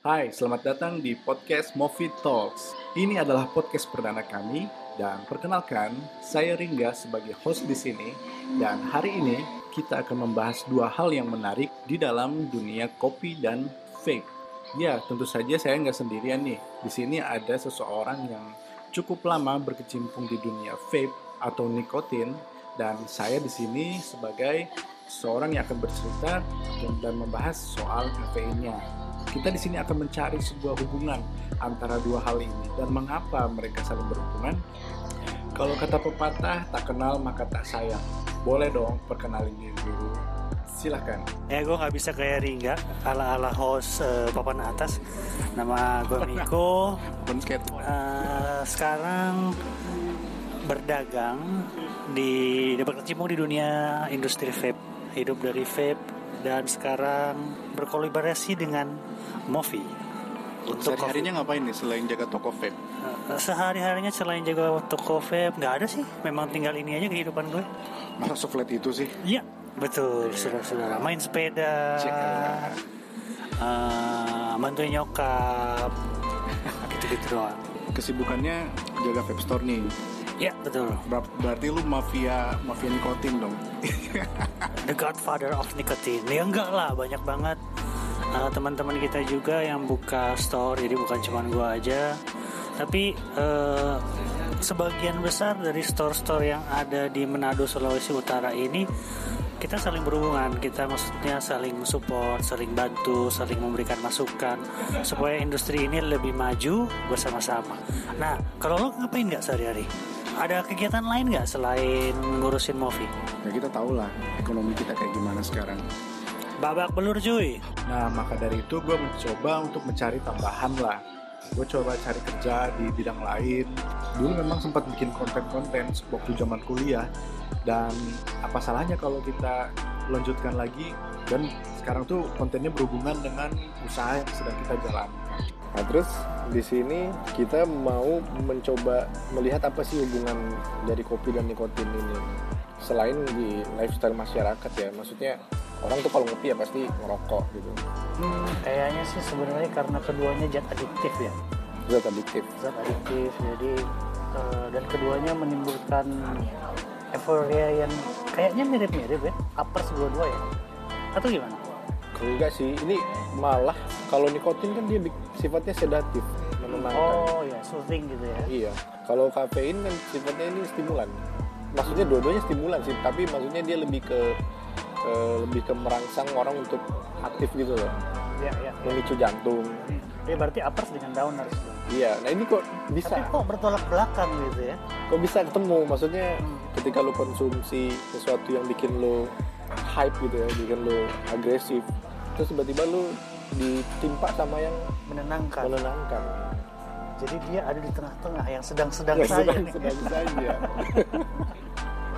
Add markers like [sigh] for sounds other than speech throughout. Hai, selamat datang di podcast Movie Talks. Ini adalah podcast perdana kami dan perkenalkan saya Ringga sebagai host di sini dan hari ini kita akan membahas dua hal yang menarik di dalam dunia kopi dan vape. Ya, tentu saja saya nggak sendirian nih. Di sini ada seseorang yang cukup lama berkecimpung di dunia vape atau nikotin dan saya di sini sebagai seorang yang akan bercerita dan membahas soal kafeinnya kita di sini akan mencari sebuah hubungan antara dua hal ini dan mengapa mereka saling berhubungan. Kalau kata pepatah, tak kenal maka tak sayang. Boleh dong perkenalin diri dulu. Silahkan. Ya gue nggak bisa kayak Ringga ala-ala host eh, papan atas. Nama gue Miko. Eh, sekarang berdagang di berkecimpung di dunia industri vape, hidup dari vape dan sekarang berkolaborasi dengan Movi untuk kopi. Sehari-harinya ngapain nih selain jaga toko vape? Eh, sehari-harinya selain jaga toko vape nggak ada sih, memang tinggal ini aja kehidupan gue. Masa seflat itu sih? Iya, betul, saudara-saudara. Main sepeda, Cek. eh, bantuin nyokap, gitu-gitu doang. Kesibukannya jaga vape store nih. Ya. Iya, betul. Ber- berarti lu mafia mafia nikotin [laughs] dong. Ya, The Godfather of Nicotine. Ya enggak lah, banyak banget eh, teman-teman kita juga yang buka store, jadi bukan cuma gua aja. Tapi eh, sebagian besar dari store-store yang ada di Manado, Sulawesi Utara ini kita saling berhubungan, kita maksudnya saling support, saling bantu, saling memberikan masukan supaya industri ini lebih maju bersama-sama. Nah, kalau lo ngapain nggak sehari-hari? Ada kegiatan lain nggak selain ngurusin movie? Ya kita tahu lah ekonomi kita kayak gimana sekarang. Babak belur cuy. Nah, maka dari itu gue mencoba untuk mencari tambahan lah. Gue coba cari kerja di bidang lain. Dulu memang sempat bikin konten-konten waktu zaman kuliah. Dan apa salahnya kalau kita lanjutkan lagi dan sekarang tuh kontennya berhubungan dengan usaha yang sedang kita jalankan. Nah, terus di sini kita mau mencoba melihat apa sih hubungan dari kopi dan nikotin ini selain di lifestyle masyarakat ya maksudnya orang tuh kalau ngopi ya pasti ngerokok gitu kayaknya sih sebenarnya karena keduanya zat adiktif ya, zat adiktif zat adiktif. Jadi eh, dan keduanya menimbulkan euforia yang kayaknya mirip-mirip ya, apes dua-dua ya. Atau gimana? enggak sih ini malah kalau nikotin kan dia bik- sifatnya sedatif menenangkan Oh ya, soothing gitu ya. iya kalau kafein kan sifatnya ini stimulan maksudnya dua-duanya stimulan sih tapi maksudnya dia lebih ke eh, lebih ke merangsang orang untuk aktif gitu loh Ya ya. ya. memicu jantung Jadi berarti apes dengan downers. dong. iya nah ini kok bisa Tapi kok bertolak belakang gitu ya? kok bisa ketemu maksudnya ketika lu konsumsi sesuatu yang bikin lu hype gitu ya bikin lu agresif terus tiba-tiba lu ditimpa sama yang Menenangkan. menenangkan Jadi dia ada di tengah-tengah yang sedang-sedang Ya, [laughs] saja. sedang sedang saja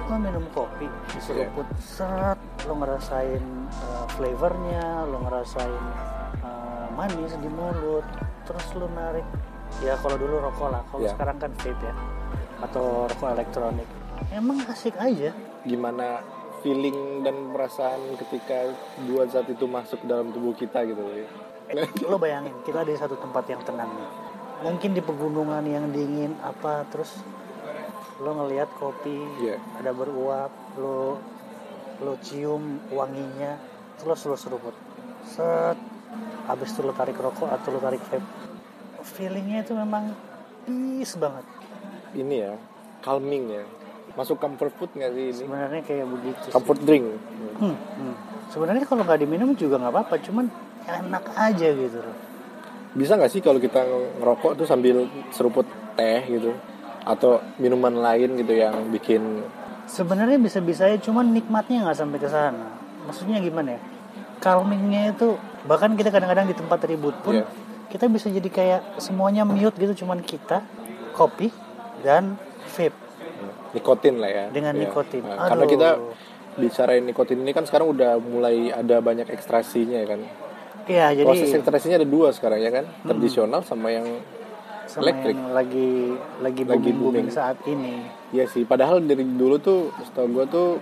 lo minum kopi diseruput seret lo ngerasain uh, flavornya lo ngerasain uh, manis di mulut terus lo narik ya kalau dulu rokok lah kalau Ya. sekarang kan vape ya atau rokok elektronik emang asik aja gimana feeling dan perasaan ketika dua zat itu masuk dalam tubuh kita gitu loh ya. Eh, lo bayangin kita ada di satu tempat yang tenang nih mungkin di pegunungan yang dingin apa terus lo ngelihat kopi Iya. ada beruap lo lo cium wanginya terus lo seruput set habis itu lo tarik rokok atau lo tarik vape feelingnya itu memang peace banget ini ya calming ya masuk comfort food nggak sih ini sebenarnya kayak begitu sih. comfort drink Hmm, hmm. sebenarnya kalau nggak diminum juga nggak apa-apa cuman enak aja gitu loh bisa nggak sih kalau kita ngerokok tuh sambil seruput teh gitu atau minuman lain gitu yang bikin Sebenarnya bisa-bisanya cuman nikmatnya nggak sampai ke sana. Maksudnya gimana ya? Calmingnya itu bahkan kita kadang-kadang di tempat ribut pun Iya. kita bisa jadi kayak semuanya mute gitu cuman kita kopi dan vape. nikotin lah ya Dengan Iya. nikotin. Nah, karena Aduh. kita bicarain nikotin ini kan sekarang udah mulai ada banyak ekstrasinya ya kan Iya, jadi proses ekstrasinya ada dua sekarang ya kan tradisional sama yang sama elektrik. yang lagi lagi booming, booming saat ini. ya sih padahal dari dulu tuh setahu gua tuh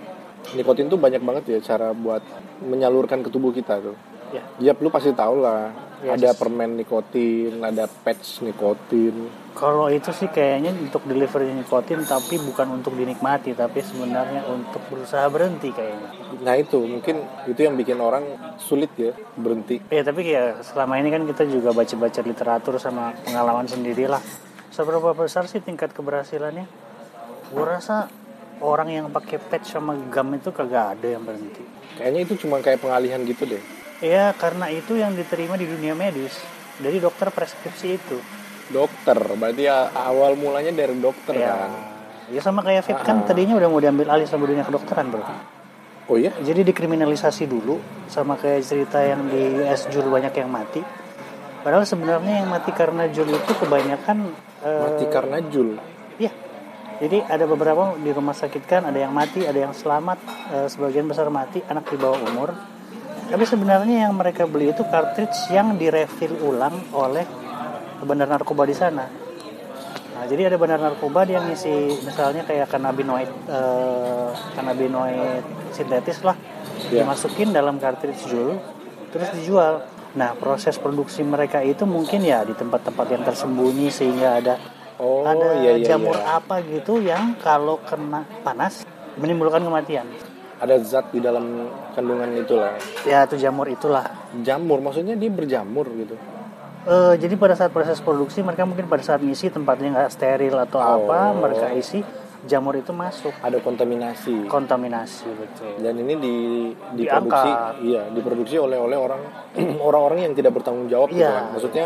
nikotin tuh banyak banget ya cara buat menyalurkan ke tubuh kita tuh Ya. Yap, lu pasti tahu lah. Yes. Ada permen nikotin, ada patch nikotin. Kalau itu sih kayaknya untuk delivery nikotin tapi bukan untuk dinikmati tapi sebenarnya untuk berusaha berhenti kayaknya. Nah itu mungkin itu yang bikin orang sulit ya berhenti. Ya tapi ya selama ini kan kita juga baca-baca literatur sama pengalaman sendirilah. Seberapa besar sih tingkat keberhasilannya? Gue rasa orang yang pakai patch sama gam itu kagak ada yang berhenti. Kayaknya itu cuma kayak pengalihan gitu deh. Ya karena itu yang diterima di dunia medis dari dokter preskripsi itu. Dokter, berarti ya awal mulanya dari dokter Ya, kan. ya sama kayak vape kan tadinya udah mau diambil alih sama dunia kedokteran bro. Oh iya, Jadi dikriminalisasi dulu sama kayak cerita yang di US Jul banyak yang mati. Padahal sebenarnya yang mati karena Jul itu kebanyakan eh, mati karena jul. Iya. Jadi ada beberapa di rumah sakit kan ada yang mati, ada yang selamat, eh, sebagian besar mati, anak di bawah umur. Tapi sebenarnya yang mereka beli itu cartridge yang direfill ulang oleh bandar narkoba di sana. Nah, jadi ada bandar narkoba dia ngisi misalnya kayak cannabinoid eh, cannabinoid sintetis lah Iya. dimasukin dalam cartridge jul terus dijual. Nah, proses produksi mereka itu mungkin ya di tempat-tempat yang tersembunyi sehingga ada Oh ada iya iya. jamur iya. apa gitu yang kalau kena panas menimbulkan kematian. Ada zat di dalam kandungan itulah. Ya itu jamur itulah. Jamur, maksudnya dia berjamur gitu. Eh, jadi pada saat proses produksi mereka mungkin pada saat ngisi tempatnya nggak steril atau apa mereka isi jamur itu masuk Ada kontaminasi. kontaminasi Iya, betul. dan ini di diproduksi Diangkat. iya diproduksi oleh oleh orang [clears throat] orang-orang yang tidak bertanggung jawab gitu Iya, kan. maksudnya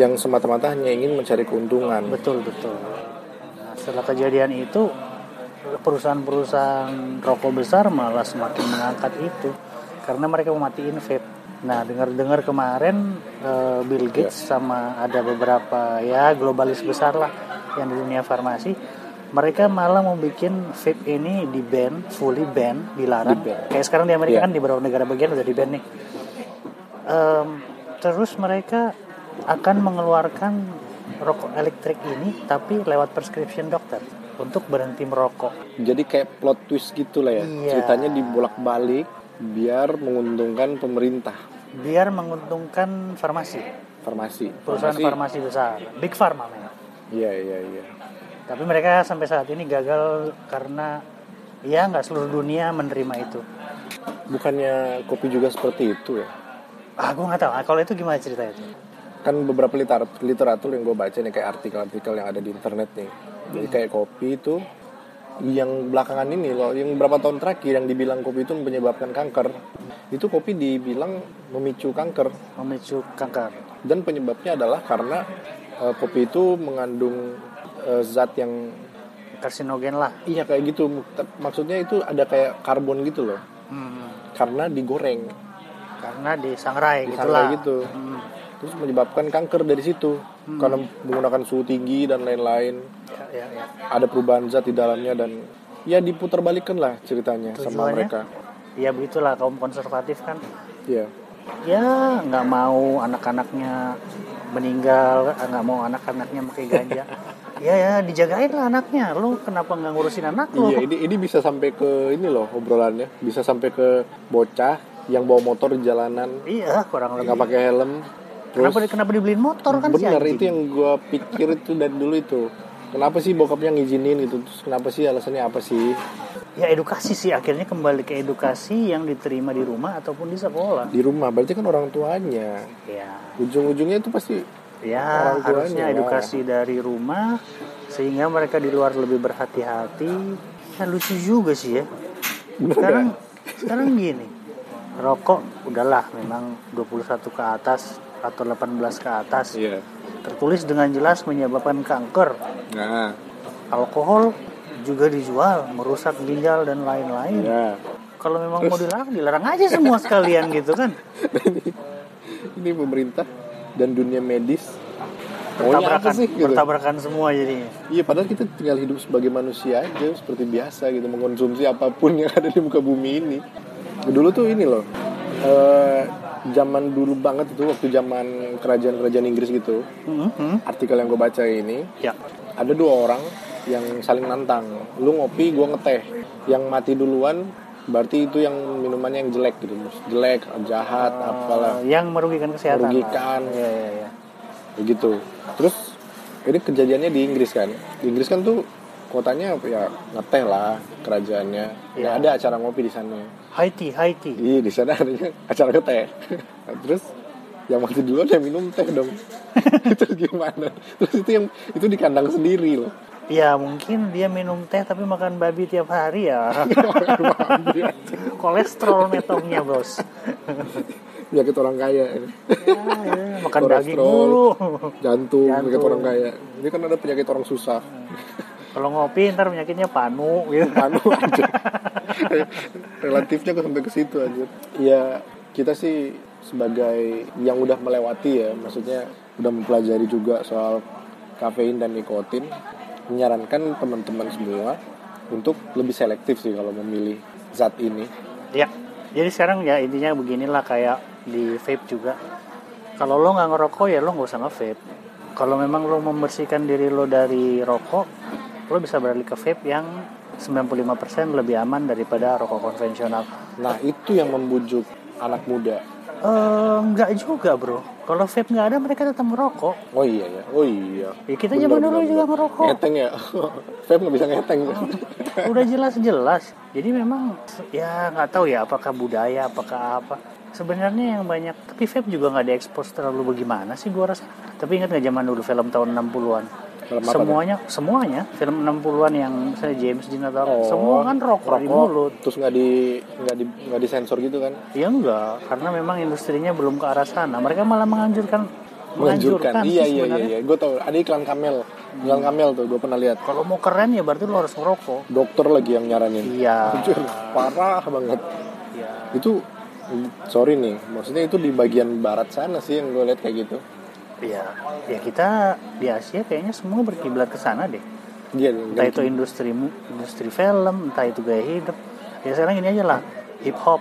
yang semata-mata hanya ingin mencari keuntungan Betul betul. Nah, setelah kejadian itu perusahaan-perusahaan rokok besar malah semakin mengangkat itu karena mereka mematiin vape. Nah dengar-dengar kemarin eh, Bill Gates sama ada beberapa ya globalis besar lah yang di dunia farmasi mereka malah mau bikin vape ini di ban fully ban dilarang Di-ban. kayak sekarang di Amerika Iya. kan di beberapa negara bagian udah di ban nih Em, terus mereka akan mengeluarkan rokok elektrik ini tapi lewat prescription dokter untuk berhenti merokok. jadi kayak plot twist gitu lah ya Iya. ceritanya dibolak-balik biar menguntungkan pemerintah Biar menguntungkan farmasi, farmasi perusahaan farmasi besar, big pharma memang. iya iya iya Tapi mereka sampai saat ini gagal karena ya nggak seluruh dunia menerima itu. bukannya kopi juga seperti itu ya Ah, gue nggak tahu. Ah, Kalau itu gimana ceritanya itu? kan beberapa literat- literatur yang gue baca nih kayak artikel-artikel yang ada di internet nih jadi kayak kopi itu yang belakangan ini loh yang berapa tahun terakhir yang dibilang kopi itu menyebabkan kanker itu kopi dibilang memicu kanker Memicu kanker. dan penyebabnya adalah karena eh, kopi itu mengandung eh, zat yang Karsinogen lah. iya kayak gitu maksudnya itu ada kayak karbon gitu loh Hmm, karena digoreng karena disangrai disangrai gitulah. gitu Hmm. terus menyebabkan kanker dari situ karena menggunakan suhu tinggi dan lain-lain Ya, ya, ya. ada perubahan zat di dalamnya dan ya diputarbalikkan lah ceritanya sama Tujuannya? mereka. ya begitulah kaum konservatif kan Iya. ya nggak mau anak-anaknya meninggal ah, nggak mau anak-anaknya pakai [laughs] ganja ya ya dijagain lah anaknya lu kenapa nggak ngurusin anak lu Iya, ini ini bisa sampai ke ini loh obrolannya, bisa sampai ke bocah yang bawa motor di jalanan iya kurang nggak lebih pakai helm. Terus kenapa di- kenapa dibeliin motor kan si bener anjing? itu yang gua pikir itu dari dulu itu. Kenapa sih bokapnya ngizinin gitu? Terus kenapa sih alasannya apa sih? ya edukasi sih akhirnya kembali ke edukasi yang diterima di rumah ataupun di sekolah Di rumah berarti kan orang tuanya. ya Ujung-ujungnya itu pasti ya Orang tuanya harusnya lah. edukasi dari rumah sehingga mereka di luar lebih berhati-hati ya lucu juga sih ya sekarang sekarang gini rokok udahlah memang 21 ke atas atau 18 ke atas Iya. tertulis dengan jelas menyebabkan kanker Nah, alkohol juga dijual merusak ginjal dan lain-lain ya. kalau memang mau dilarang dilarang aja semua sekalian gitu kan Ini pemerintah dan dunia medis maunya apa bertabrakan sih gitu? bertabrakan semua jadinya Iya padahal kita tinggal hidup sebagai manusia aja seperti biasa gitu mengkonsumsi apapun yang ada di muka bumi ini. Dulu tuh ini loh, eh, zaman dulu banget itu waktu zaman kerajaan-kerajaan Inggris gitu. Mhm, mhm. Artikel yang gue baca ini ya ada dua orang yang saling nantang. Lu ngopi, gue ngeteh. Yang mati duluan berarti itu yang minumannya yang jelek gitu jelek jahat Ah. apalah Eh, yang merugikan kesehatan. lah. Merugikan. ya, Iya, iya, iya. begitu gitu. terus ini kejadiannya di Inggris kan di Inggris kan tuh kotanya ya ngeteh lah kerajaannya Iya. Nah, ada acara ngopi di sana Iya, High tea, high tea. di di sana adanya acara ngeteh [laughs] Nah, terus yang mati duluan yang minum teh dong [laughs] itu gimana terus itu yang itu di kandang sendiri [laughs] loh Ya mungkin dia minum teh tapi makan babi tiap hari [laughs] ya. Kolesterol metongnya [laughs] bos. penyakit orang kaya ini. Makan daging Ya, Kolesterol. mulu. [laughs] jantung, Oh. penyakit Jantung. orang kaya ini kan ada penyakit orang susah Kalau ngopi ntar penyakitnya panu gitu. anu aja [laughs] relatifnya ke sampai ke situ aja ya kita sih sebagai yang udah melewati ya maksudnya udah mempelajari juga soal kafein dan nikotin menyarankan teman-teman semua untuk lebih selektif sih kalau memilih zat ini Ya. Jadi sekarang ya intinya beginilah kayak di vape juga. Kalau lo nggak ngerokok ya lo nggak usah nge-vape. Kalau memang lo membersihkan diri lo dari rokok, lo bisa beralih ke vape yang 95% lebih aman daripada rokok konvensional. nah itu yang membujuk anak muda Eh, nggak juga bro. Kalau vape nggak ada mereka tetap merokok. oh iya ya oh iya Ya, kita zaman Benar, dulu benar, juga [laughs] benar. merokok. ngeteng ya vape nggak bisa ngeteng [laughs] Udah jelas-jelas. Jadi memang ya nggak tahu ya apakah budaya, apakah apa. Sebenarnya yang banyak, tapi vape juga nggak diekspos terlalu bagaimana sih gua rasa. Tapi ingat nggak zaman dulu film tahun 60-an? Film apa semuanya, semuanya film 60-an yang misalnya James Dean atau Oh, apa, semua kan rokok, di mulut. terus nggak di nggak di nggak disensor gitu kan Ya enggak, karena memang industrinya belum ke arah sana. Mereka malah menganjurkan menganjurkan sih iya iya iya, sebenarnya. iya. gue tau ada iklan kamel iklan kamel tuh gue pernah lihat Kalau mau keren ya berarti lo harus ngerokok. dokter lagi yang nyaranin Iya. Jujur, parah banget Iya. itu sorry nih maksudnya itu di bagian barat sana sih yang gue lihat kayak gitu Iya. Ya kita di Asia kayaknya semua berkiblat ke sana deh. dia Entah itu industri mu- industri film, entah itu gaya hidup. Ya sekarang ini aja lah, hip hop,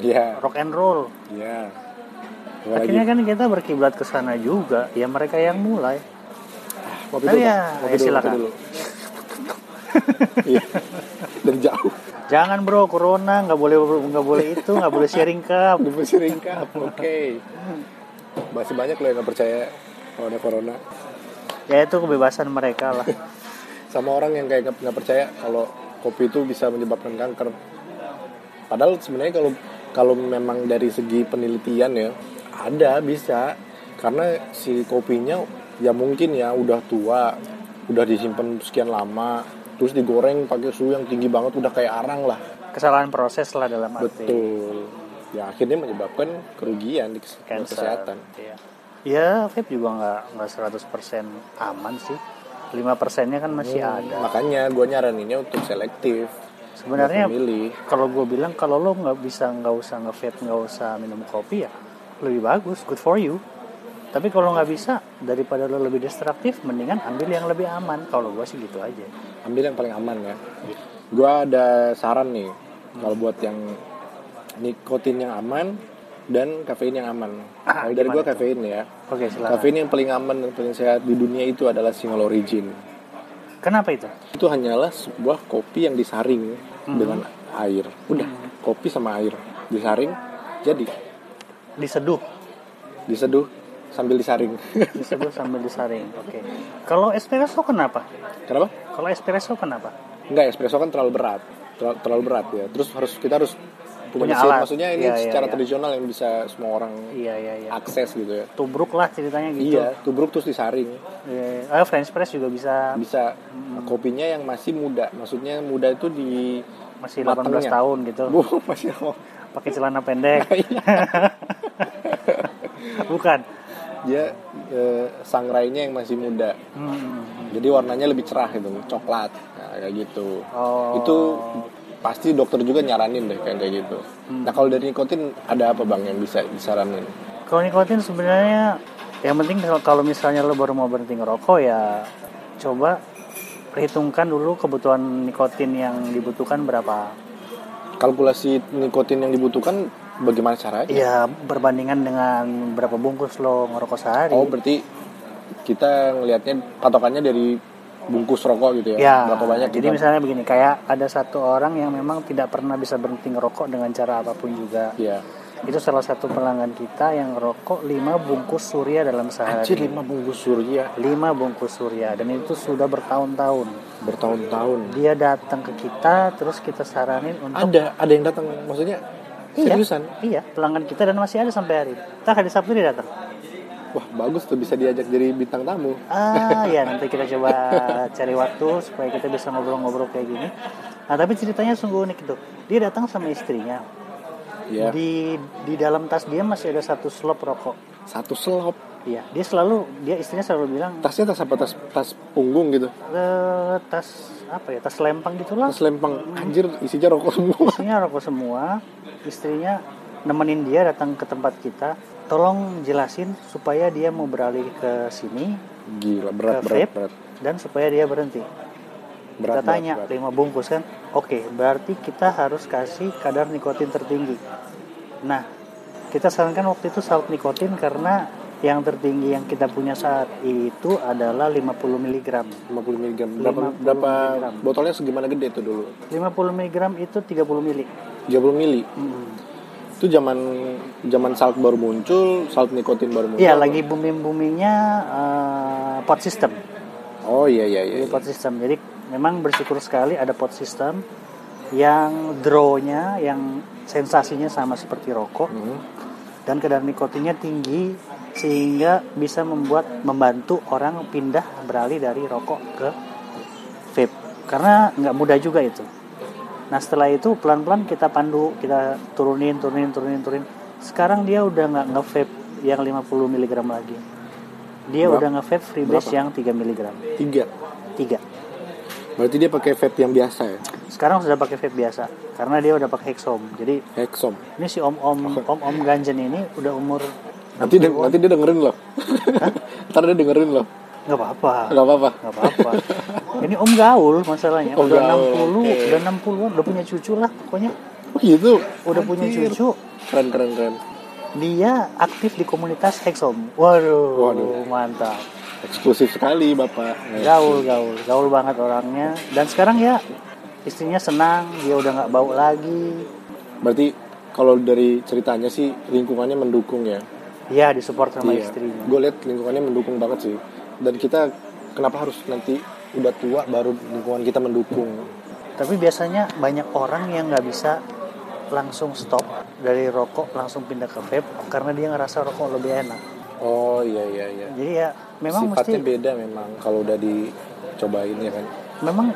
iya rock and roll. iya Apa lagi? Akhirnya kan kita berkiblat ke sana juga. Ya mereka yang mulai. Kopi Oh dulu, iya, Pak. ya, Kopi dulu, kopi silakan. dulu. [laughs] Iya. Dari jauh. Jangan bro, corona nggak boleh nggak boleh itu, nggak boleh sharing cup. Di Mesir Cup, oke. Masih banyak loh yang gak percaya kalau ada corona. Ya itu kebebasan mereka [laughs] lah. Sama orang yang kayak nggak- nggak percaya kalau kopi itu bisa menyebabkan kanker. Padahal sebenarnya kalau kalau memang dari segi penelitian ya ada bisa karena si kopinya ya mungkin ya udah tua, udah disimpan sekian lama, terus digoreng pakai suhu yang tinggi banget udah kayak arang lah. Kesalahan proses lah dalam arti. Betul. Ya akhirnya menyebabkan kerugian di kes- Cancer. kesehatan. Iya. Ya, vape juga nggak nggak 100% aman sih. 5 persennya kan masih ada. Makanya gue nyaraninnya untuk selektif. Sebenarnya Memilih. kalau gue bilang kalau lo nggak bisa nggak usah nge vape nggak usah minum kopi ya lebih bagus, good for you. Tapi kalau nggak bisa daripada lo lebih destruktif, mendingan ambil yang lebih aman. Kalau gue sih gitu aja. ambil yang paling aman ya. Gue ada saran nih kalau buat yang nikotin yang aman dan kafein yang aman. Ah, Kalau dari gue gimana tuh? kafein ya. Oke silakan. Kafein yang paling aman dan paling sehat di dunia itu adalah single origin. Kenapa itu? Itu hanyalah sebuah kopi yang disaring Hmm. dengan air. Udah, kopi sama air disaring jadi Diseduh, diseduh sambil disaring. [laughs] diseduh sambil disaring. Oke. Kalau espresso kenapa? Kenapa? Kalau espresso kenapa? Enggak, espresso kan terlalu berat. Terlalu, terlalu berat ya. Terus harus kita harus Punya punya, mesin. alat. Maksudnya ini Iya, iya, secara iya. tradisional yang bisa semua orang Iya iya iya. akses gitu ya. Tubruk lah ceritanya gitu. Iya, tubruk terus disaring. Eh, ah, French press juga bisa Bisa kopinya yang masih muda. Maksudnya muda itu di masih 18 matangnya. tahun gitu. [laughs] Bu, Iya. masih oh, Pakai celana [laughs] pendek. [laughs] Bukan. dia eh, sangrainya yang masih muda. Hmm. Jadi warnanya lebih cerah gitu, coklat. Nah, kayak gitu. Oh. Itu pasti dokter juga nyaranin deh kayak kayak gitu. Hmm. Nah, kalau dari nikotin ada apa Bang yang bisa disaranin? Kalau nikotin sebenarnya yang penting kalau- kalau misalnya lo baru mau berhenti ngerokok ya coba perhitungkan dulu kebutuhan nikotin yang dibutuhkan berapa. kalkulasi nikotin yang dibutuhkan bagaimana caranya? Ya berbandingan dengan berapa bungkus lo ngerokok sehari. Oh berarti kita ngelihatnya patokannya dari bungkus rokok gitu ya, Ya, berapa banyak jadi kita- misalnya begini, kayak ada satu orang yang memang tidak pernah bisa berhenti ngerokok dengan cara apapun juga. Iya. Itu salah satu pelanggan kita yang rokok 5 bungkus surya dalam sehari. Anjir lima bungkus surya 5 bungkus surya dan itu sudah bertahun-tahun. bertahun-tahun. Dia datang ke kita terus kita saranin untuk Ada ada yang datang maksudnya Iya. seriusan. iya, pelanggan kita dan masih ada sampai hari. ini. Entah hari Sabtu dia datang. Wah bagus tuh bisa diajak jadi bintang tamu. Ah ya nanti kita coba cari waktu supaya kita bisa ngobrol-ngobrol kayak gini. Nah tapi ceritanya sungguh unik itu. Dia datang sama istrinya. Iya. Di di dalam tas dia masih ada satu slop rokok. Satu selop. Iya. Dia selalu dia istrinya selalu bilang Tasnya tas apa tas tas punggung gitu. "Eh, tas apa ya tas lempang gitulah. Tas lempeng. Anjir isinya rokok semua. Istrinya rokok semua. Istrinya nemenin dia datang ke tempat kita. Tolong jelasin supaya dia mau beralih ke sini Gila berat Ke berat vape? berat. dan supaya dia berhenti. Berat, kita berat, tanya berat. lima bungkus kan oke berarti kita harus kasih kadar nikotin tertinggi nah kita sarankan waktu itu saat nikotin karena yang tertinggi yang kita punya saat itu adalah 50 mg 50 mg. Berapa 50 berapa miligram. botolnya segimana gede tuh dulu? 50 mg itu 30 mili 30 mili. Mm. Itu zaman zaman salt baru muncul, salt nikotin baru muncul. Iya lagi booming boomingnya pot system Oh iya iya iya. Jadi pot system jadi memang bersyukur sekali ada pot system yang drawnya yang sensasinya sama seperti rokok Hmm. dan kadar nikotinnya tinggi sehingga bisa membuat membantu orang pindah beralih dari rokok ke vape karena nggak mudah juga itu nah setelah itu pelan-pelan kita pandu kita turunin turunin turunin turunin sekarang dia udah nggak nge-vape yang 50 mg lagi dia Berapa? udah nge-vape freebase yang 3 mg Tiga. 3 Berarti dia pakai vape yang biasa ya? sekarang sudah pakai vape biasa karena dia udah pakai hexom jadi Hexom. ini si om-om om-om ganjen ini udah umur Nanti Iya. de- nanti dia dengerin [laughs] loh. Ntar dia dengerin loh. nggak apa-apa Gak apa-apa. nggak apa-apa ini om gaul masalahnya Om udah 60 gaul, oke. udah 60 udah punya cucu lah pokoknya Oh gitu. udah punya Anjir. cucu Keren keren keren. dia aktif di komunitas Hexom waduh, Waduh. mantap Eksklusif sekali bapak. Iya. gaul gaul gaul banget orangnya dan sekarang ya istrinya senang dia udah nggak bau lagi Berarti kalau dari ceritanya sih lingkungannya mendukung ya. ya disupport sama Iya. istrinya Gue lihat lingkungannya mendukung banget sih. Dan kita kenapa harus nanti udah tua baru lingkungan kita mendukung? tapi biasanya banyak orang yang nggak bisa langsung stop dari rokok langsung pindah ke vape karena dia ngerasa rokok lebih enak Oh iya iya iya. jadi ya memang mesti Sifatnya beda memang kalau udah dicobain ya kan. memang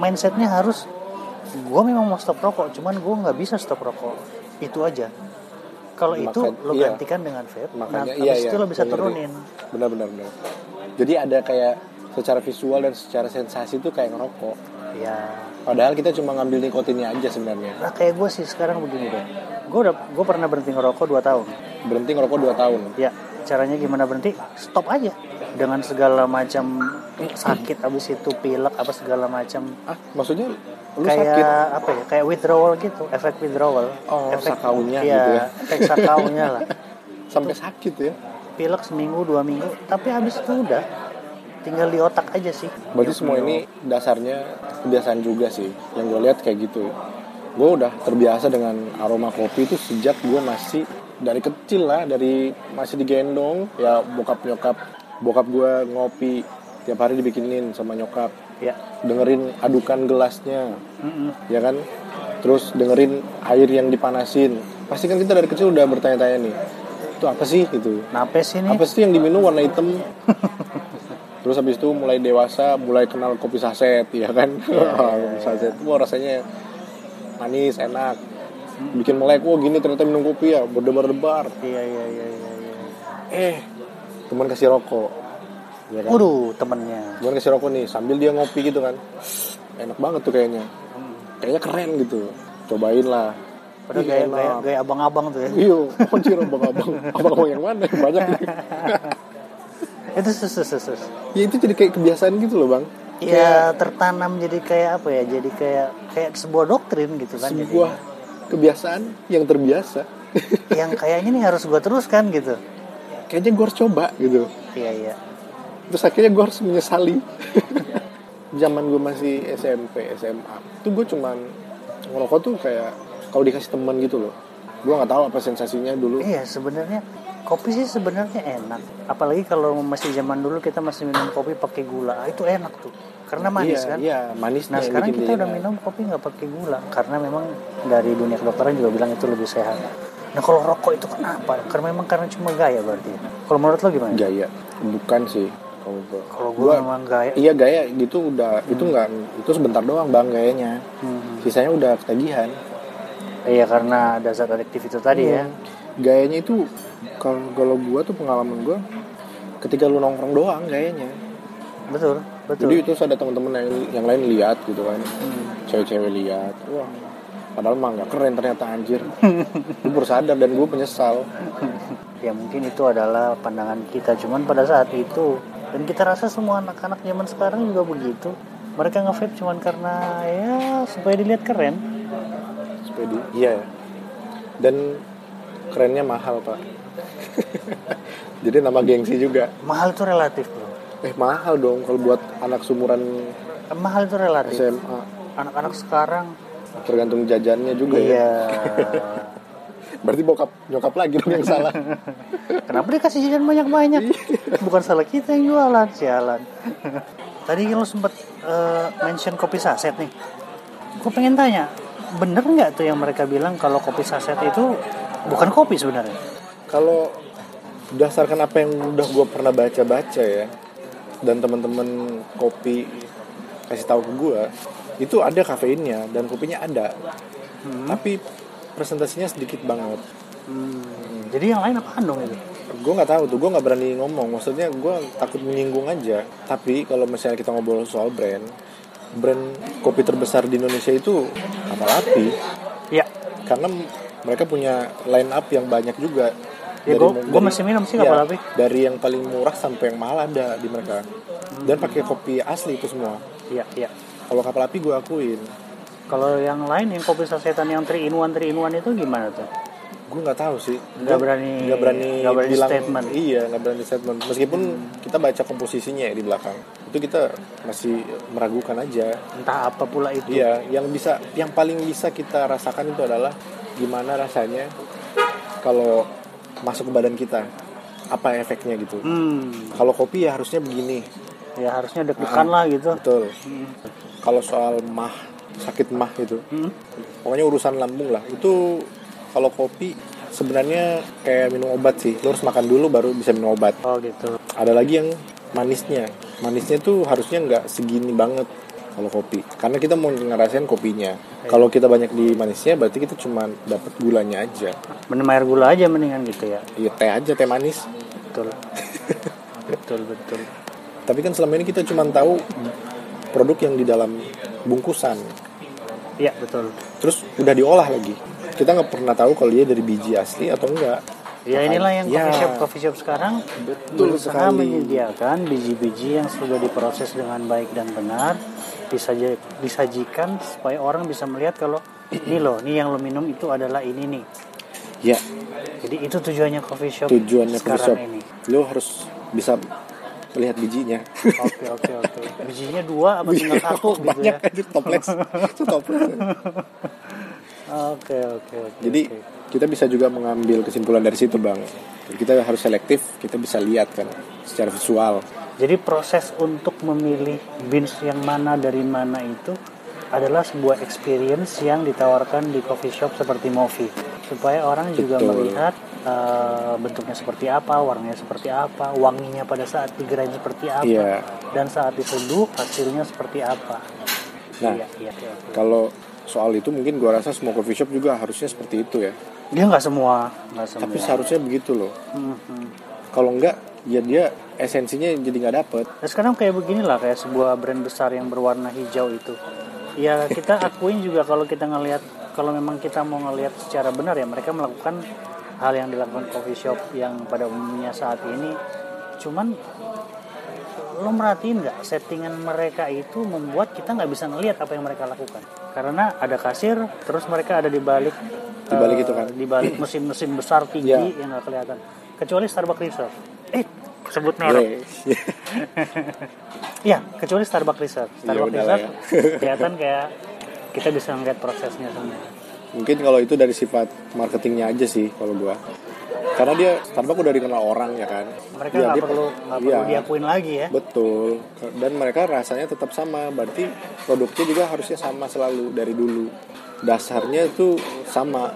mindsetnya harus gue memang mau stop rokok cuman gue nggak bisa stop rokok itu aja kalau itu Maka- lo iya. gantikan dengan vape nah Makanya iya habis iya. itu lo bisa gua ngerti. turunin Benar benar benar. Jadi ada kayak secara visual dan secara sensasi itu kayak ngerokok. ya Padahal kita cuma ngambil nikotinnya aja sebenarnya. nah kayak gue sih sekarang begini deh gue udah gue pernah berhenti ngerokok 2 tahun Berhenti ngerokok 2 tahun. ya caranya gimana berhenti stop aja dengan segala macam sakit abis itu pilek apa segala macam Ah, maksudnya lu kayak sakit. apa ya kayak withdrawal gitu efek withdrawal Oh, efek sakaunya iya, gitu ya. efek sakaunya lah Sampai sakit ya. pilek seminggu dua minggu tapi habis itu udah tinggal di otak aja sih Berarti semua ini dasarnya kebiasaan juga sih. Yang gue lihat kayak gitu. Gue udah terbiasa dengan aroma kopi itu sejak gue masih dari kecil lah, dari masih digendong ya bokap nyokap, bokap gue ngopi tiap hari dibikinin sama nyokap, ya dengerin adukan gelasnya, Mm-mm. ya kan? Terus dengerin air yang dipanasin. Pasti kan kita dari kecil udah bertanya-tanya nih, itu apa sih gitu? nape sih nih apa sih yang diminum warna hitam terus habis itu mulai dewasa mulai kenal kopi saset ya kan [laughs] kopi saset wah rasanya manis enak bikin melek wah gini ternyata minum kopi ya berdebar-debar iya iya iya iya iya eh teman kasih rokok ya kan Waduh, temennya teman kasih rokok nih sambil dia ngopi gitu kan enak banget tuh kayaknya kayaknya keren gitu cobain lah Padahal Ih, gaya, enak. gaya, gaya abang-abang tuh [laughs] ya Iya, anjir abang-abang Abang-abang yang mana? Banyak nih. Itu sus, sus, sus, sus. Ya itu jadi kayak kebiasaan gitu loh bang Ya tertanam jadi kayak apa ya Jadi kayak kayak sebuah doktrin gitu kan jadi. sebuah kebiasaan yang terbiasa [laughs] Yang kayaknya nih harus gue teruskan gitu kayaknya gue harus coba gitu Iya iya terus akhirnya gue harus menyesali [laughs] zaman gue masih SMP SMA tuh gue cuman ngerokok tuh kayak kalau dikasih teman gitu loh gue nggak tahu apa sensasinya dulu Iya sebenarnya kopi sih sebenarnya enak. Apalagi kalau masih zaman dulu kita masih minum kopi pakai gula ah, itu enak tuh. Karena manis iya, kan. iya Nah manisnya yang sekarang bikin kita udah jadi enak. minum kopi nggak pakai gula karena memang dari dunia kedokteran juga bilang itu lebih sehat. Nah kalau rokok itu kenapa? Karena memang karena cuma gaya berarti. Kalau menurut lo gimana? gaya bukan sih kalau gue Kalau gue Gua- memang gaya. iya gaya gitu udah itu nggak itu sebentar doang bang gayanya Hmm. sisanya udah ketagihan Iya karena ada zat adiktif itu tadi ya. Iya. Hmm. gayanya itu kalau kalau gue tuh pengalaman gue ketika lu nongkrong doang gayanya Betul betul. jadi itu ada teman-teman yang yang lain lihat gitu kan Hmm. cewek-cewek lihat wah padahal mah nggak keren ternyata [laughs] anjir gue baru sadar dan gue menyesal Ya mungkin itu adalah pandangan kita cuman pada saat itu dan kita rasa semua anak-anak zaman sekarang juga begitu. Mereka nge-vape cuman karena ya supaya dilihat keren. sepedi iya ya. dan kerennya mahal pak [laughs] jadi nama gengsi juga Mahal itu relatif, Bro. eh mahal dong kalau buat anak sumuran Mahal itu relatif. SMA Anak-anak sekarang tergantung jajannya juga ya iya. berarti bokap nyokap lagi dong yang [laughs] salah Kenapa dikasih jajan banyak-banyak? Bukan salah kita yang jualan, sialan. Tadi lo sempet eh, mention kopi saset nih. Gue pengen tanya, bener nggak tuh yang mereka bilang kalau kopi saset itu bukan kopi sebenarnya? kalau berdasarkan apa yang udah gue pernah baca-baca ya dan teman-teman kopi kasih tahu ke gue itu ada kafeinnya dan kopinya ada tapi presentasinya sedikit banget Hmm, Jadi yang lain apaan dong itu? gue nggak tahu tuh gue nggak berani ngomong maksudnya gue takut menyinggung aja tapi kalau misalnya kita ngobrol soal brand brand kopi terbesar di Indonesia itu Kamal Api Ya, karena m- mereka punya line up yang banyak juga Ya, Dari- gua- gua dari- masih minum sih Kapal Api. dari yang paling murah sampai yang mahal ada di mereka dan pakai kopi asli itu semua iya, iya. kalau kapal api gue akuin Kalau yang lain yang kopi sasetan yang 3 in 1 3 in 1 itu gimana tuh? gue nggak tahu sih Nggak Gua berani- nggak berani, nggak berani bilang statement. iya nggak berani statement meskipun kita baca komposisinya ya di belakang itu kita masih meragukan aja Entah apa pula itu. iya yang bisa yang paling bisa kita rasakan itu adalah gimana rasanya kalau masuk ke badan kita apa efeknya gitu Hmm, kalau kopi ya harusnya begini ya harusnya deg-degan lah gitu. betul kalau soal mah sakit mah gitu Hmm. pokoknya urusan lambung lah itu kalau kopi sebenarnya kayak minum obat sih lo harus makan dulu baru bisa minum obat Oh gitu. ada lagi yang manisnya manisnya tuh harusnya nggak segini banget kalau kopi karena kita mau ngerasain kopinya kalau kita banyak di manisnya berarti kita cuma dapat gulanya aja Minum air gula aja mendingan gitu ya. ya teh aja teh manis Betul. betul, betul. tapi kan selama ini kita cuma tahu produk yang di dalam bungkusan Iya, betul. terus udah diolah lagi kita nggak pernah tahu kalau dia dari biji asli atau enggak Ya inilah yang Ya. coffee shop coffee shop sekarang Betul berusaha sekali. menyediakan biji-biji yang sudah diproses dengan baik dan benar disaji, disajikan supaya orang bisa melihat kalau ini loh, ini yang lo minum itu adalah ini nih. ya Jadi itu tujuannya coffee shop tujuannya coffee sekarang shop. ini. Lo harus bisa melihat bijinya. Iya, Oke oke oke. Bijinya dua apa [laughs] tinggal satu gitu Banyak ya? aja toples. Itu toples. Oke oke oke. Jadi oke. kita bisa juga mengambil kesimpulan dari situ, Bang. Jadi kita harus selektif, kita bisa lihat kan secara visual. Jadi proses untuk memilih beans yang mana dari mana itu adalah sebuah experience yang ditawarkan di coffee shop seperti Movi supaya orang juga Betul. melihat eh, bentuknya seperti apa, warnanya seperti apa, wanginya pada saat digerain seperti apa, Iya. dan saat diseduh hasilnya seperti apa. Nah. iya, iya, iya. Kalau soal itu mungkin gua rasa semua coffee shop juga harusnya seperti itu ya. dia nggak semua, nggak semua. Tapi seharusnya begitu loh. Hmm, hmm. Kalau enggak, ya dia esensinya jadi nggak dapet. Nah, sekarang kayak beginilah kayak sebuah brand besar yang berwarna hijau itu. Ya kita akuin juga kalau kita ngelihat kalau memang kita mau ngelihat secara benar ya mereka melakukan hal yang dilakukan coffee shop yang pada umumnya saat ini. Cuman lo merhatiin nggak settingan mereka itu membuat kita nggak bisa ngelihat apa yang mereka lakukan karena ada kasir terus mereka ada di balik Di balik eh, itu kan? [clears throat] di balik mesin-mesin besar tinggi Ya. yang nggak kelihatan kecuali Starbucks Reserve eh sebut merek. Iya. Iya, kecuali Starbucks Reserve. Iya, Starbucks udahlah Reserve ya. [laughs] kelihatan kayak kita bisa ngeliat prosesnya semua. Mungkin kalau itu dari sifat marketingnya aja sih kalau gua. Karena dia Starbucks udah dikenal orang ya kan. Mereka Ya, nggak dia- perlu nggak iya, perlu diakuin lagi ya. Betul. Dan mereka rasanya tetap sama. Berarti produknya juga harusnya sama selalu dari dulu. Dasarnya itu sama.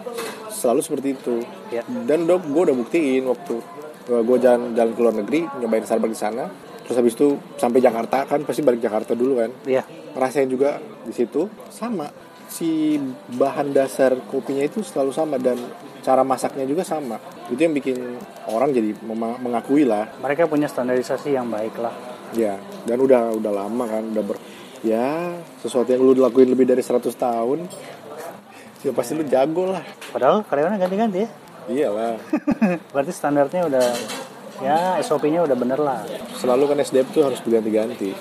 Selalu seperti itu. Ya. Dan udah gue udah buktiin waktu gue jalan jalan ke luar negeri nyobain Starbucks di sana. Terus habis itu sampai Jakarta kan pasti balik Jakarta dulu kan Iya. rasanya juga di situ sama si bahan dasar kopinya itu selalu sama dan cara masaknya juga sama itu yang bikin orang jadi mema- mengakui lah Mereka punya standarisasi yang baik lah. ya dan udah udah lama kan udah ber ya sesuatu yang lu lakuin lebih dari 100 tahun ya pasti lu jago lah Padahal karyawannya ganti-ganti ya. [laughs] iyalah Berarti standarnya udah ya SOP-nya udah bener lah. selalu kan SDM tuh harus berganti-ganti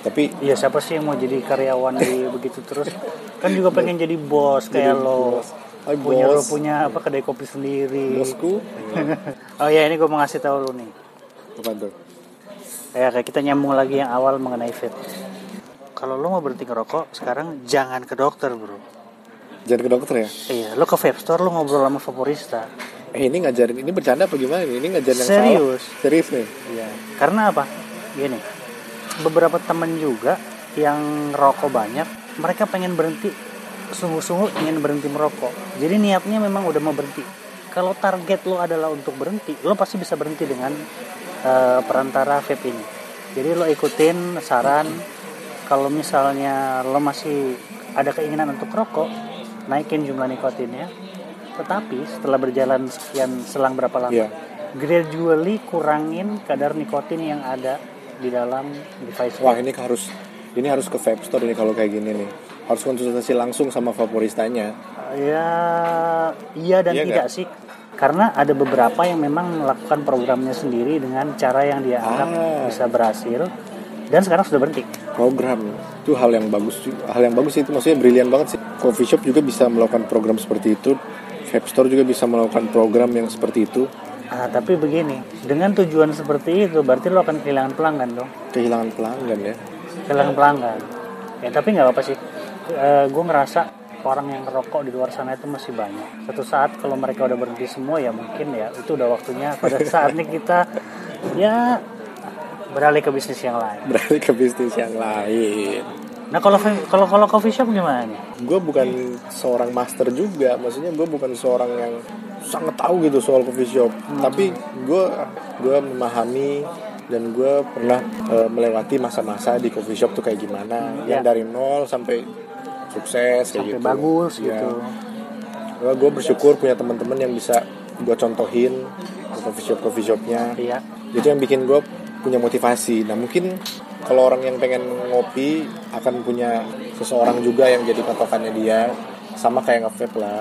tapi Iya siapa sih yang mau jadi karyawan [laughs] di begitu terus? Kan juga pengen jadi bos kayak lo. Ay, punya lo bos. punya apa kedai kopi sendiri. bosku [laughs] Oh ya ini gue mau ngasih tahu lo nih. apa tuh Ya kayak kita nyambung lagi yang awal mengenai vape. Kalau lo mau berhenti ngerokok sekarang jangan ke dokter bro. jangan ke dokter ya Iya, lo ke vape store lo ngobrol sama vaporista. eh ini ngajarin ini bercanda apa gimana nih? ini ngajarin yang Serius. salah serius nih Iya. Karena apa? Gini, beberapa temen juga yang rokok banyak, mereka pengen berhenti sungguh-sungguh ingin berhenti merokok. Jadi niatnya memang udah mau berhenti. Kalau target lo adalah untuk berhenti, lo pasti bisa berhenti dengan eh, perantara vape ini. Jadi lo ikutin saran. Kalau misalnya lo masih ada keinginan untuk rokok, naikin jumlah nikotinnya. Tetapi setelah berjalan sekian selang berapa lama, Iya. gradually kurangin kadar nikotin yang ada di dalam device Wah ini harus ini harus ke vape store ini kalau kayak gini nih. Harus konsultasi langsung sama vaporistanya. ya iya dan Iya tidak nggak? sih karena ada beberapa yang memang melakukan programnya sendiri dengan cara yang dia anggap Ah. bisa berhasil dan sekarang sudah berhenti Program itu hal yang bagus, ju- hal yang bagus itu maksudnya brilian banget sih. Coffee shop juga bisa melakukan program seperti itu. Vape store juga bisa melakukan program yang seperti itu. Ah, tapi begini dengan tujuan seperti itu berarti lo akan kehilangan pelanggan dong Kehilangan pelanggan ya. [laughs] kehilangan pelanggan ya tapi nggak apa sih Eh gue ngerasa orang yang ngerokok di luar sana itu masih banyak satu saat kalau mereka udah berhenti semua ya mungkin ya itu udah waktunya [laughs] pada saatnya kita ya beralih ke bisnis yang lain Beralih ke bisnis yang lain. nah kalau kalau kalau coffee shop gimana nih Gue bukan seorang master juga, maksudnya gue bukan seorang yang sangat tahu gitu soal coffee shop. Hmm. Tapi gue gue memahami dan gue pernah eh, melewati masa-masa di coffee shop tuh kayak gimana, yang ya. dari nol sampai sukses kayak Sampai gitu. bagus Ya. gitu Gue bersyukur punya teman-teman yang bisa gue contohin ke coffee shop coffee shopnya iya itu yang bikin gue punya motivasi nah mungkin kalau orang yang pengen ngopi akan punya seseorang juga yang jadi patokannya dia sama kayak nge-vape lah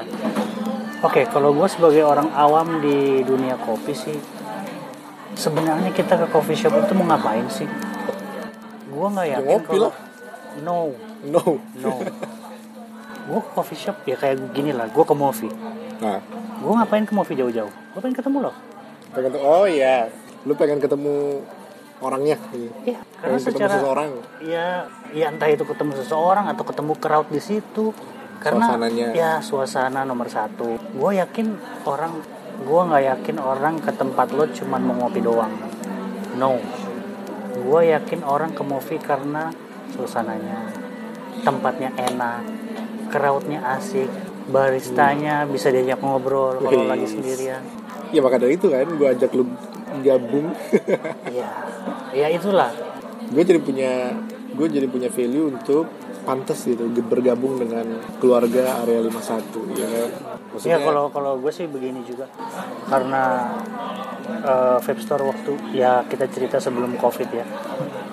Oke, kalau gue sebagai orang awam di dunia kopi sih, sebenarnya kita ke coffee shop itu mau ngapain sih? Gue nggak Ya yakin ngopi kalau lah. no, no no. gue ke coffee shop ya kayak gini lah. Gue ke movie. nah Gue ngapain ke movie jauh-jauh? Gue pengen ketemu lo. pengen tuh oh iya lu pengen ketemu orangnya Iya, karena pengen ketemu secara seseorang ya, ya entah itu ketemu seseorang atau ketemu crowd di situ. Karena Suasananya. ya suasana nomor satu. Gue yakin orang, gue nggak yakin orang ke tempat lo cuman mau ngopi doang. No, gue yakin orang ke movie karena suasananya, tempatnya enak, crowdnya asik, baristanya bisa diajak ngobrol kalau Hmm. Wih. lagi sendirian. ya maka dari itu kan gue ajak lu gabung Ya, ya itulah. gue jadi punya gue jadi punya value untuk pantas gitu bergabung dengan keluarga area 51 ya kan Iya maksudnya kalau kalau gue sih begini juga karena eh, vape store waktu ya kita cerita sebelum covid ya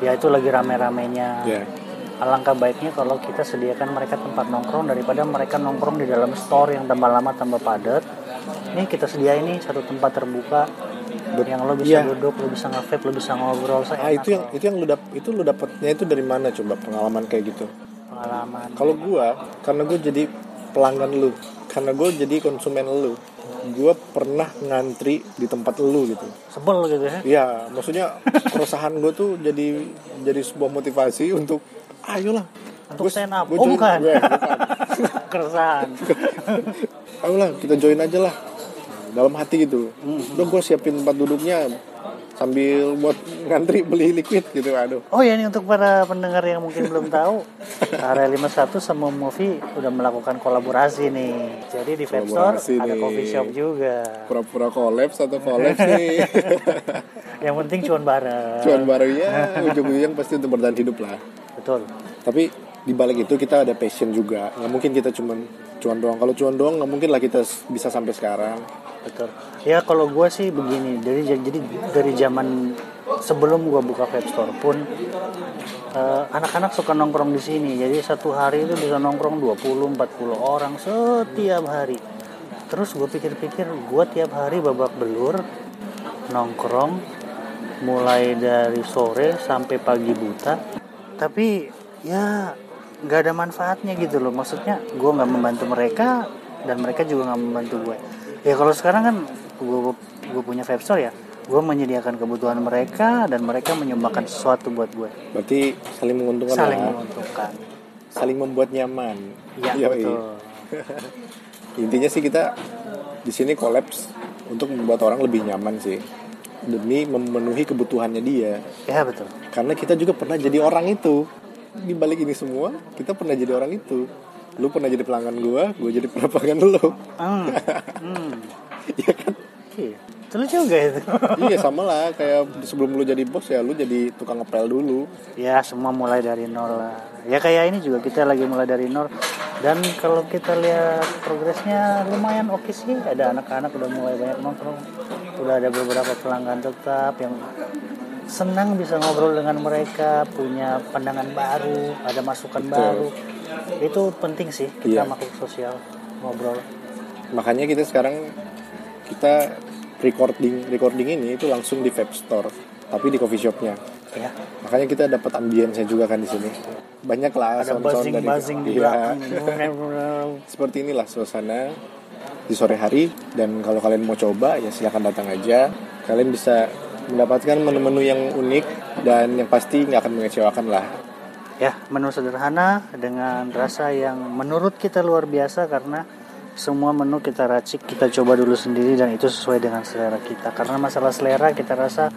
ya itu lagi rame-ramenya Iya. alangkah baiknya kalau kita sediakan mereka tempat nongkrong daripada mereka nongkrong di dalam store yang tambah lama tambah padat ini kita sediain nih satu tempat terbuka Bet- yang lo bisa iya. duduk lo bisa nge-vape lo bisa ngobrol Ah seenak itu yang itu yang lu dap itu lu dapatnya itu dari mana coba pengalaman kayak gitu? pengalaman Kalau gua karena gua jadi pelanggan lu, karena gua jadi konsumen lu. gue pernah ngantri di tempat lu gitu Sebel gitu ya. Iya, maksudnya keresahan gue tuh jadi jadi sebuah motivasi untuk ayolah. Untuk Gua- stand up. gua Oh, join- bukan. gua- [laughs] ya. bukan. Keresahan. Ayolah kita join aja lah. Dalam hati gitu. Hmm. Udah gue siapin tempat duduknya sambil buat ngantri beli liquid gitu. Aduh. Oh ya ini untuk para pendengar yang mungkin belum tahu, Area 51 sama Movie udah melakukan kolaborasi nih. Jadi di Vape Store Kolaborasi ada nih. coffee shop juga. Pura-pura collapse atau collapse nih. [laughs] Yang penting cuan bareng. Cuan barunya ujung-ujung pasti untuk bertahan hidup lah. Betul. Tapi di balik itu kita ada passion juga. Nggak mungkin kita cuman cuan doang. Kalau cuan doang nggak mungkin lah kita s- bisa sampai sekarang. Betul. Ya kalau gue sih begini, dari jadi dari zaman sebelum gue buka vape store pun eh, anak-anak suka nongkrong di sini. Jadi satu hari itu bisa nongkrong 20 40 orang setiap hari. Terus gue pikir-pikir gue tiap hari babak belur nongkrong mulai dari sore sampai pagi buta. Tapi ya nggak ada manfaatnya gitu loh. Maksudnya gue nggak membantu mereka dan mereka juga nggak membantu gue. Ya kalau sekarang kan gue gue punya vape store ya. Gue menyediakan kebutuhan mereka dan mereka menyumbangkan sesuatu buat gue. Berarti saling menguntungkan Saling lah. menguntungkan. saling membuat nyaman. Iya Yoi. betul. Intinya sih kita di sini kolaps untuk membuat orang lebih nyaman sih demi memenuhi kebutuhannya dia. Ya betul. Karena kita juga pernah jadi orang itu. Di balik ini semua, kita pernah jadi orang itu. Lu pernah jadi pelanggan gua, gua jadi pelanggan lu. [laughs] Hmm. hmm. Iya kan? Iya. Itu lucu juga itu. iya sama lah kayak sebelum lu jadi bos ya lu jadi tukang ngepel dulu. ya semua mulai dari nol lah. Ya kayak ini juga kita lagi mulai dari nol. Dan kalau kita lihat progresnya lumayan oke sih. Ada anak-anak udah mulai banyak nongkrong. Udah ada beberapa pelanggan tetap yang senang bisa ngobrol dengan mereka, punya pandangan baru, ada masukan baru. Itu penting sih kita Iya. makhluk sosial ngobrol. Makanya kita sekarang kita recording recording ini itu langsung di vape store tapi di coffee shopnya Ya. makanya kita dapat ambience juga kan di sini banyak lah Ada sound-sound dari- buzzing-buzzing di belakang. Iya. seperti inilah suasana di sore hari dan kalau kalian mau coba ya silahkan datang aja kalian bisa mendapatkan menu-menu yang unik dan yang pasti nggak akan mengecewakan lah Ya, menu sederhana dengan rasa yang menurut kita luar biasa karena semua menu kita racik, kita coba dulu sendiri dan itu sesuai dengan selera kita. Karena masalah selera kita rasa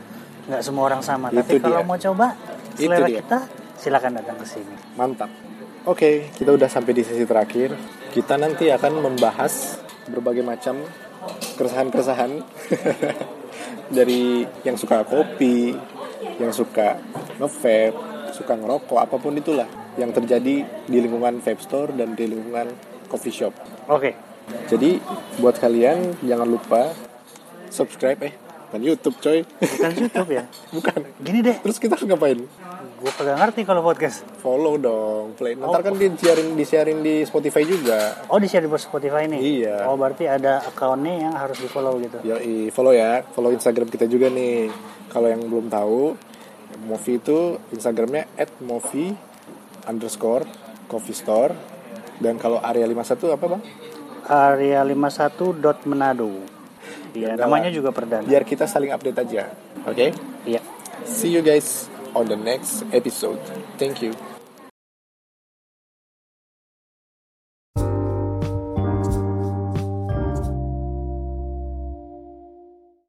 nggak semua orang sama. Tapi Itu kalau dia. mau coba Itu selera dia. kita, silakan datang ke sini. mantap oke kita udah sampai di sesi terakhir kita nanti akan membahas berbagai macam keresahan-keresahan [laughs] dari yang suka kopi yang suka nge-vape suka ngerokok apapun itulah yang terjadi di lingkungan vape store dan di lingkungan coffee shop Oke, Jadi buat kalian jangan lupa subscribe eh bukan YouTube coy. [laughs] bukan YouTube ya. bukan. Gini deh, Terus kita ngapain? gue kagak ngerti kalau podcast. Follow dong, play. Ntar kan di sharing di sharing di Spotify juga. Oh, di share di Spotify nih. Iya. Oh, berarti ada akunnya yang harus di follow gitu. Yoi, follow ya. Follow Instagram kita juga nih. Kalau yang belum tahu, Movi itu Instagramnya @movi underscore coffee store. Dan kalau area 51 apa bang? Area 51 dot Manado. Iya, Enggak namanya lah. juga perdana. Biar kita saling update aja. Oke? Iya. See you guys on the next episode. Thank you.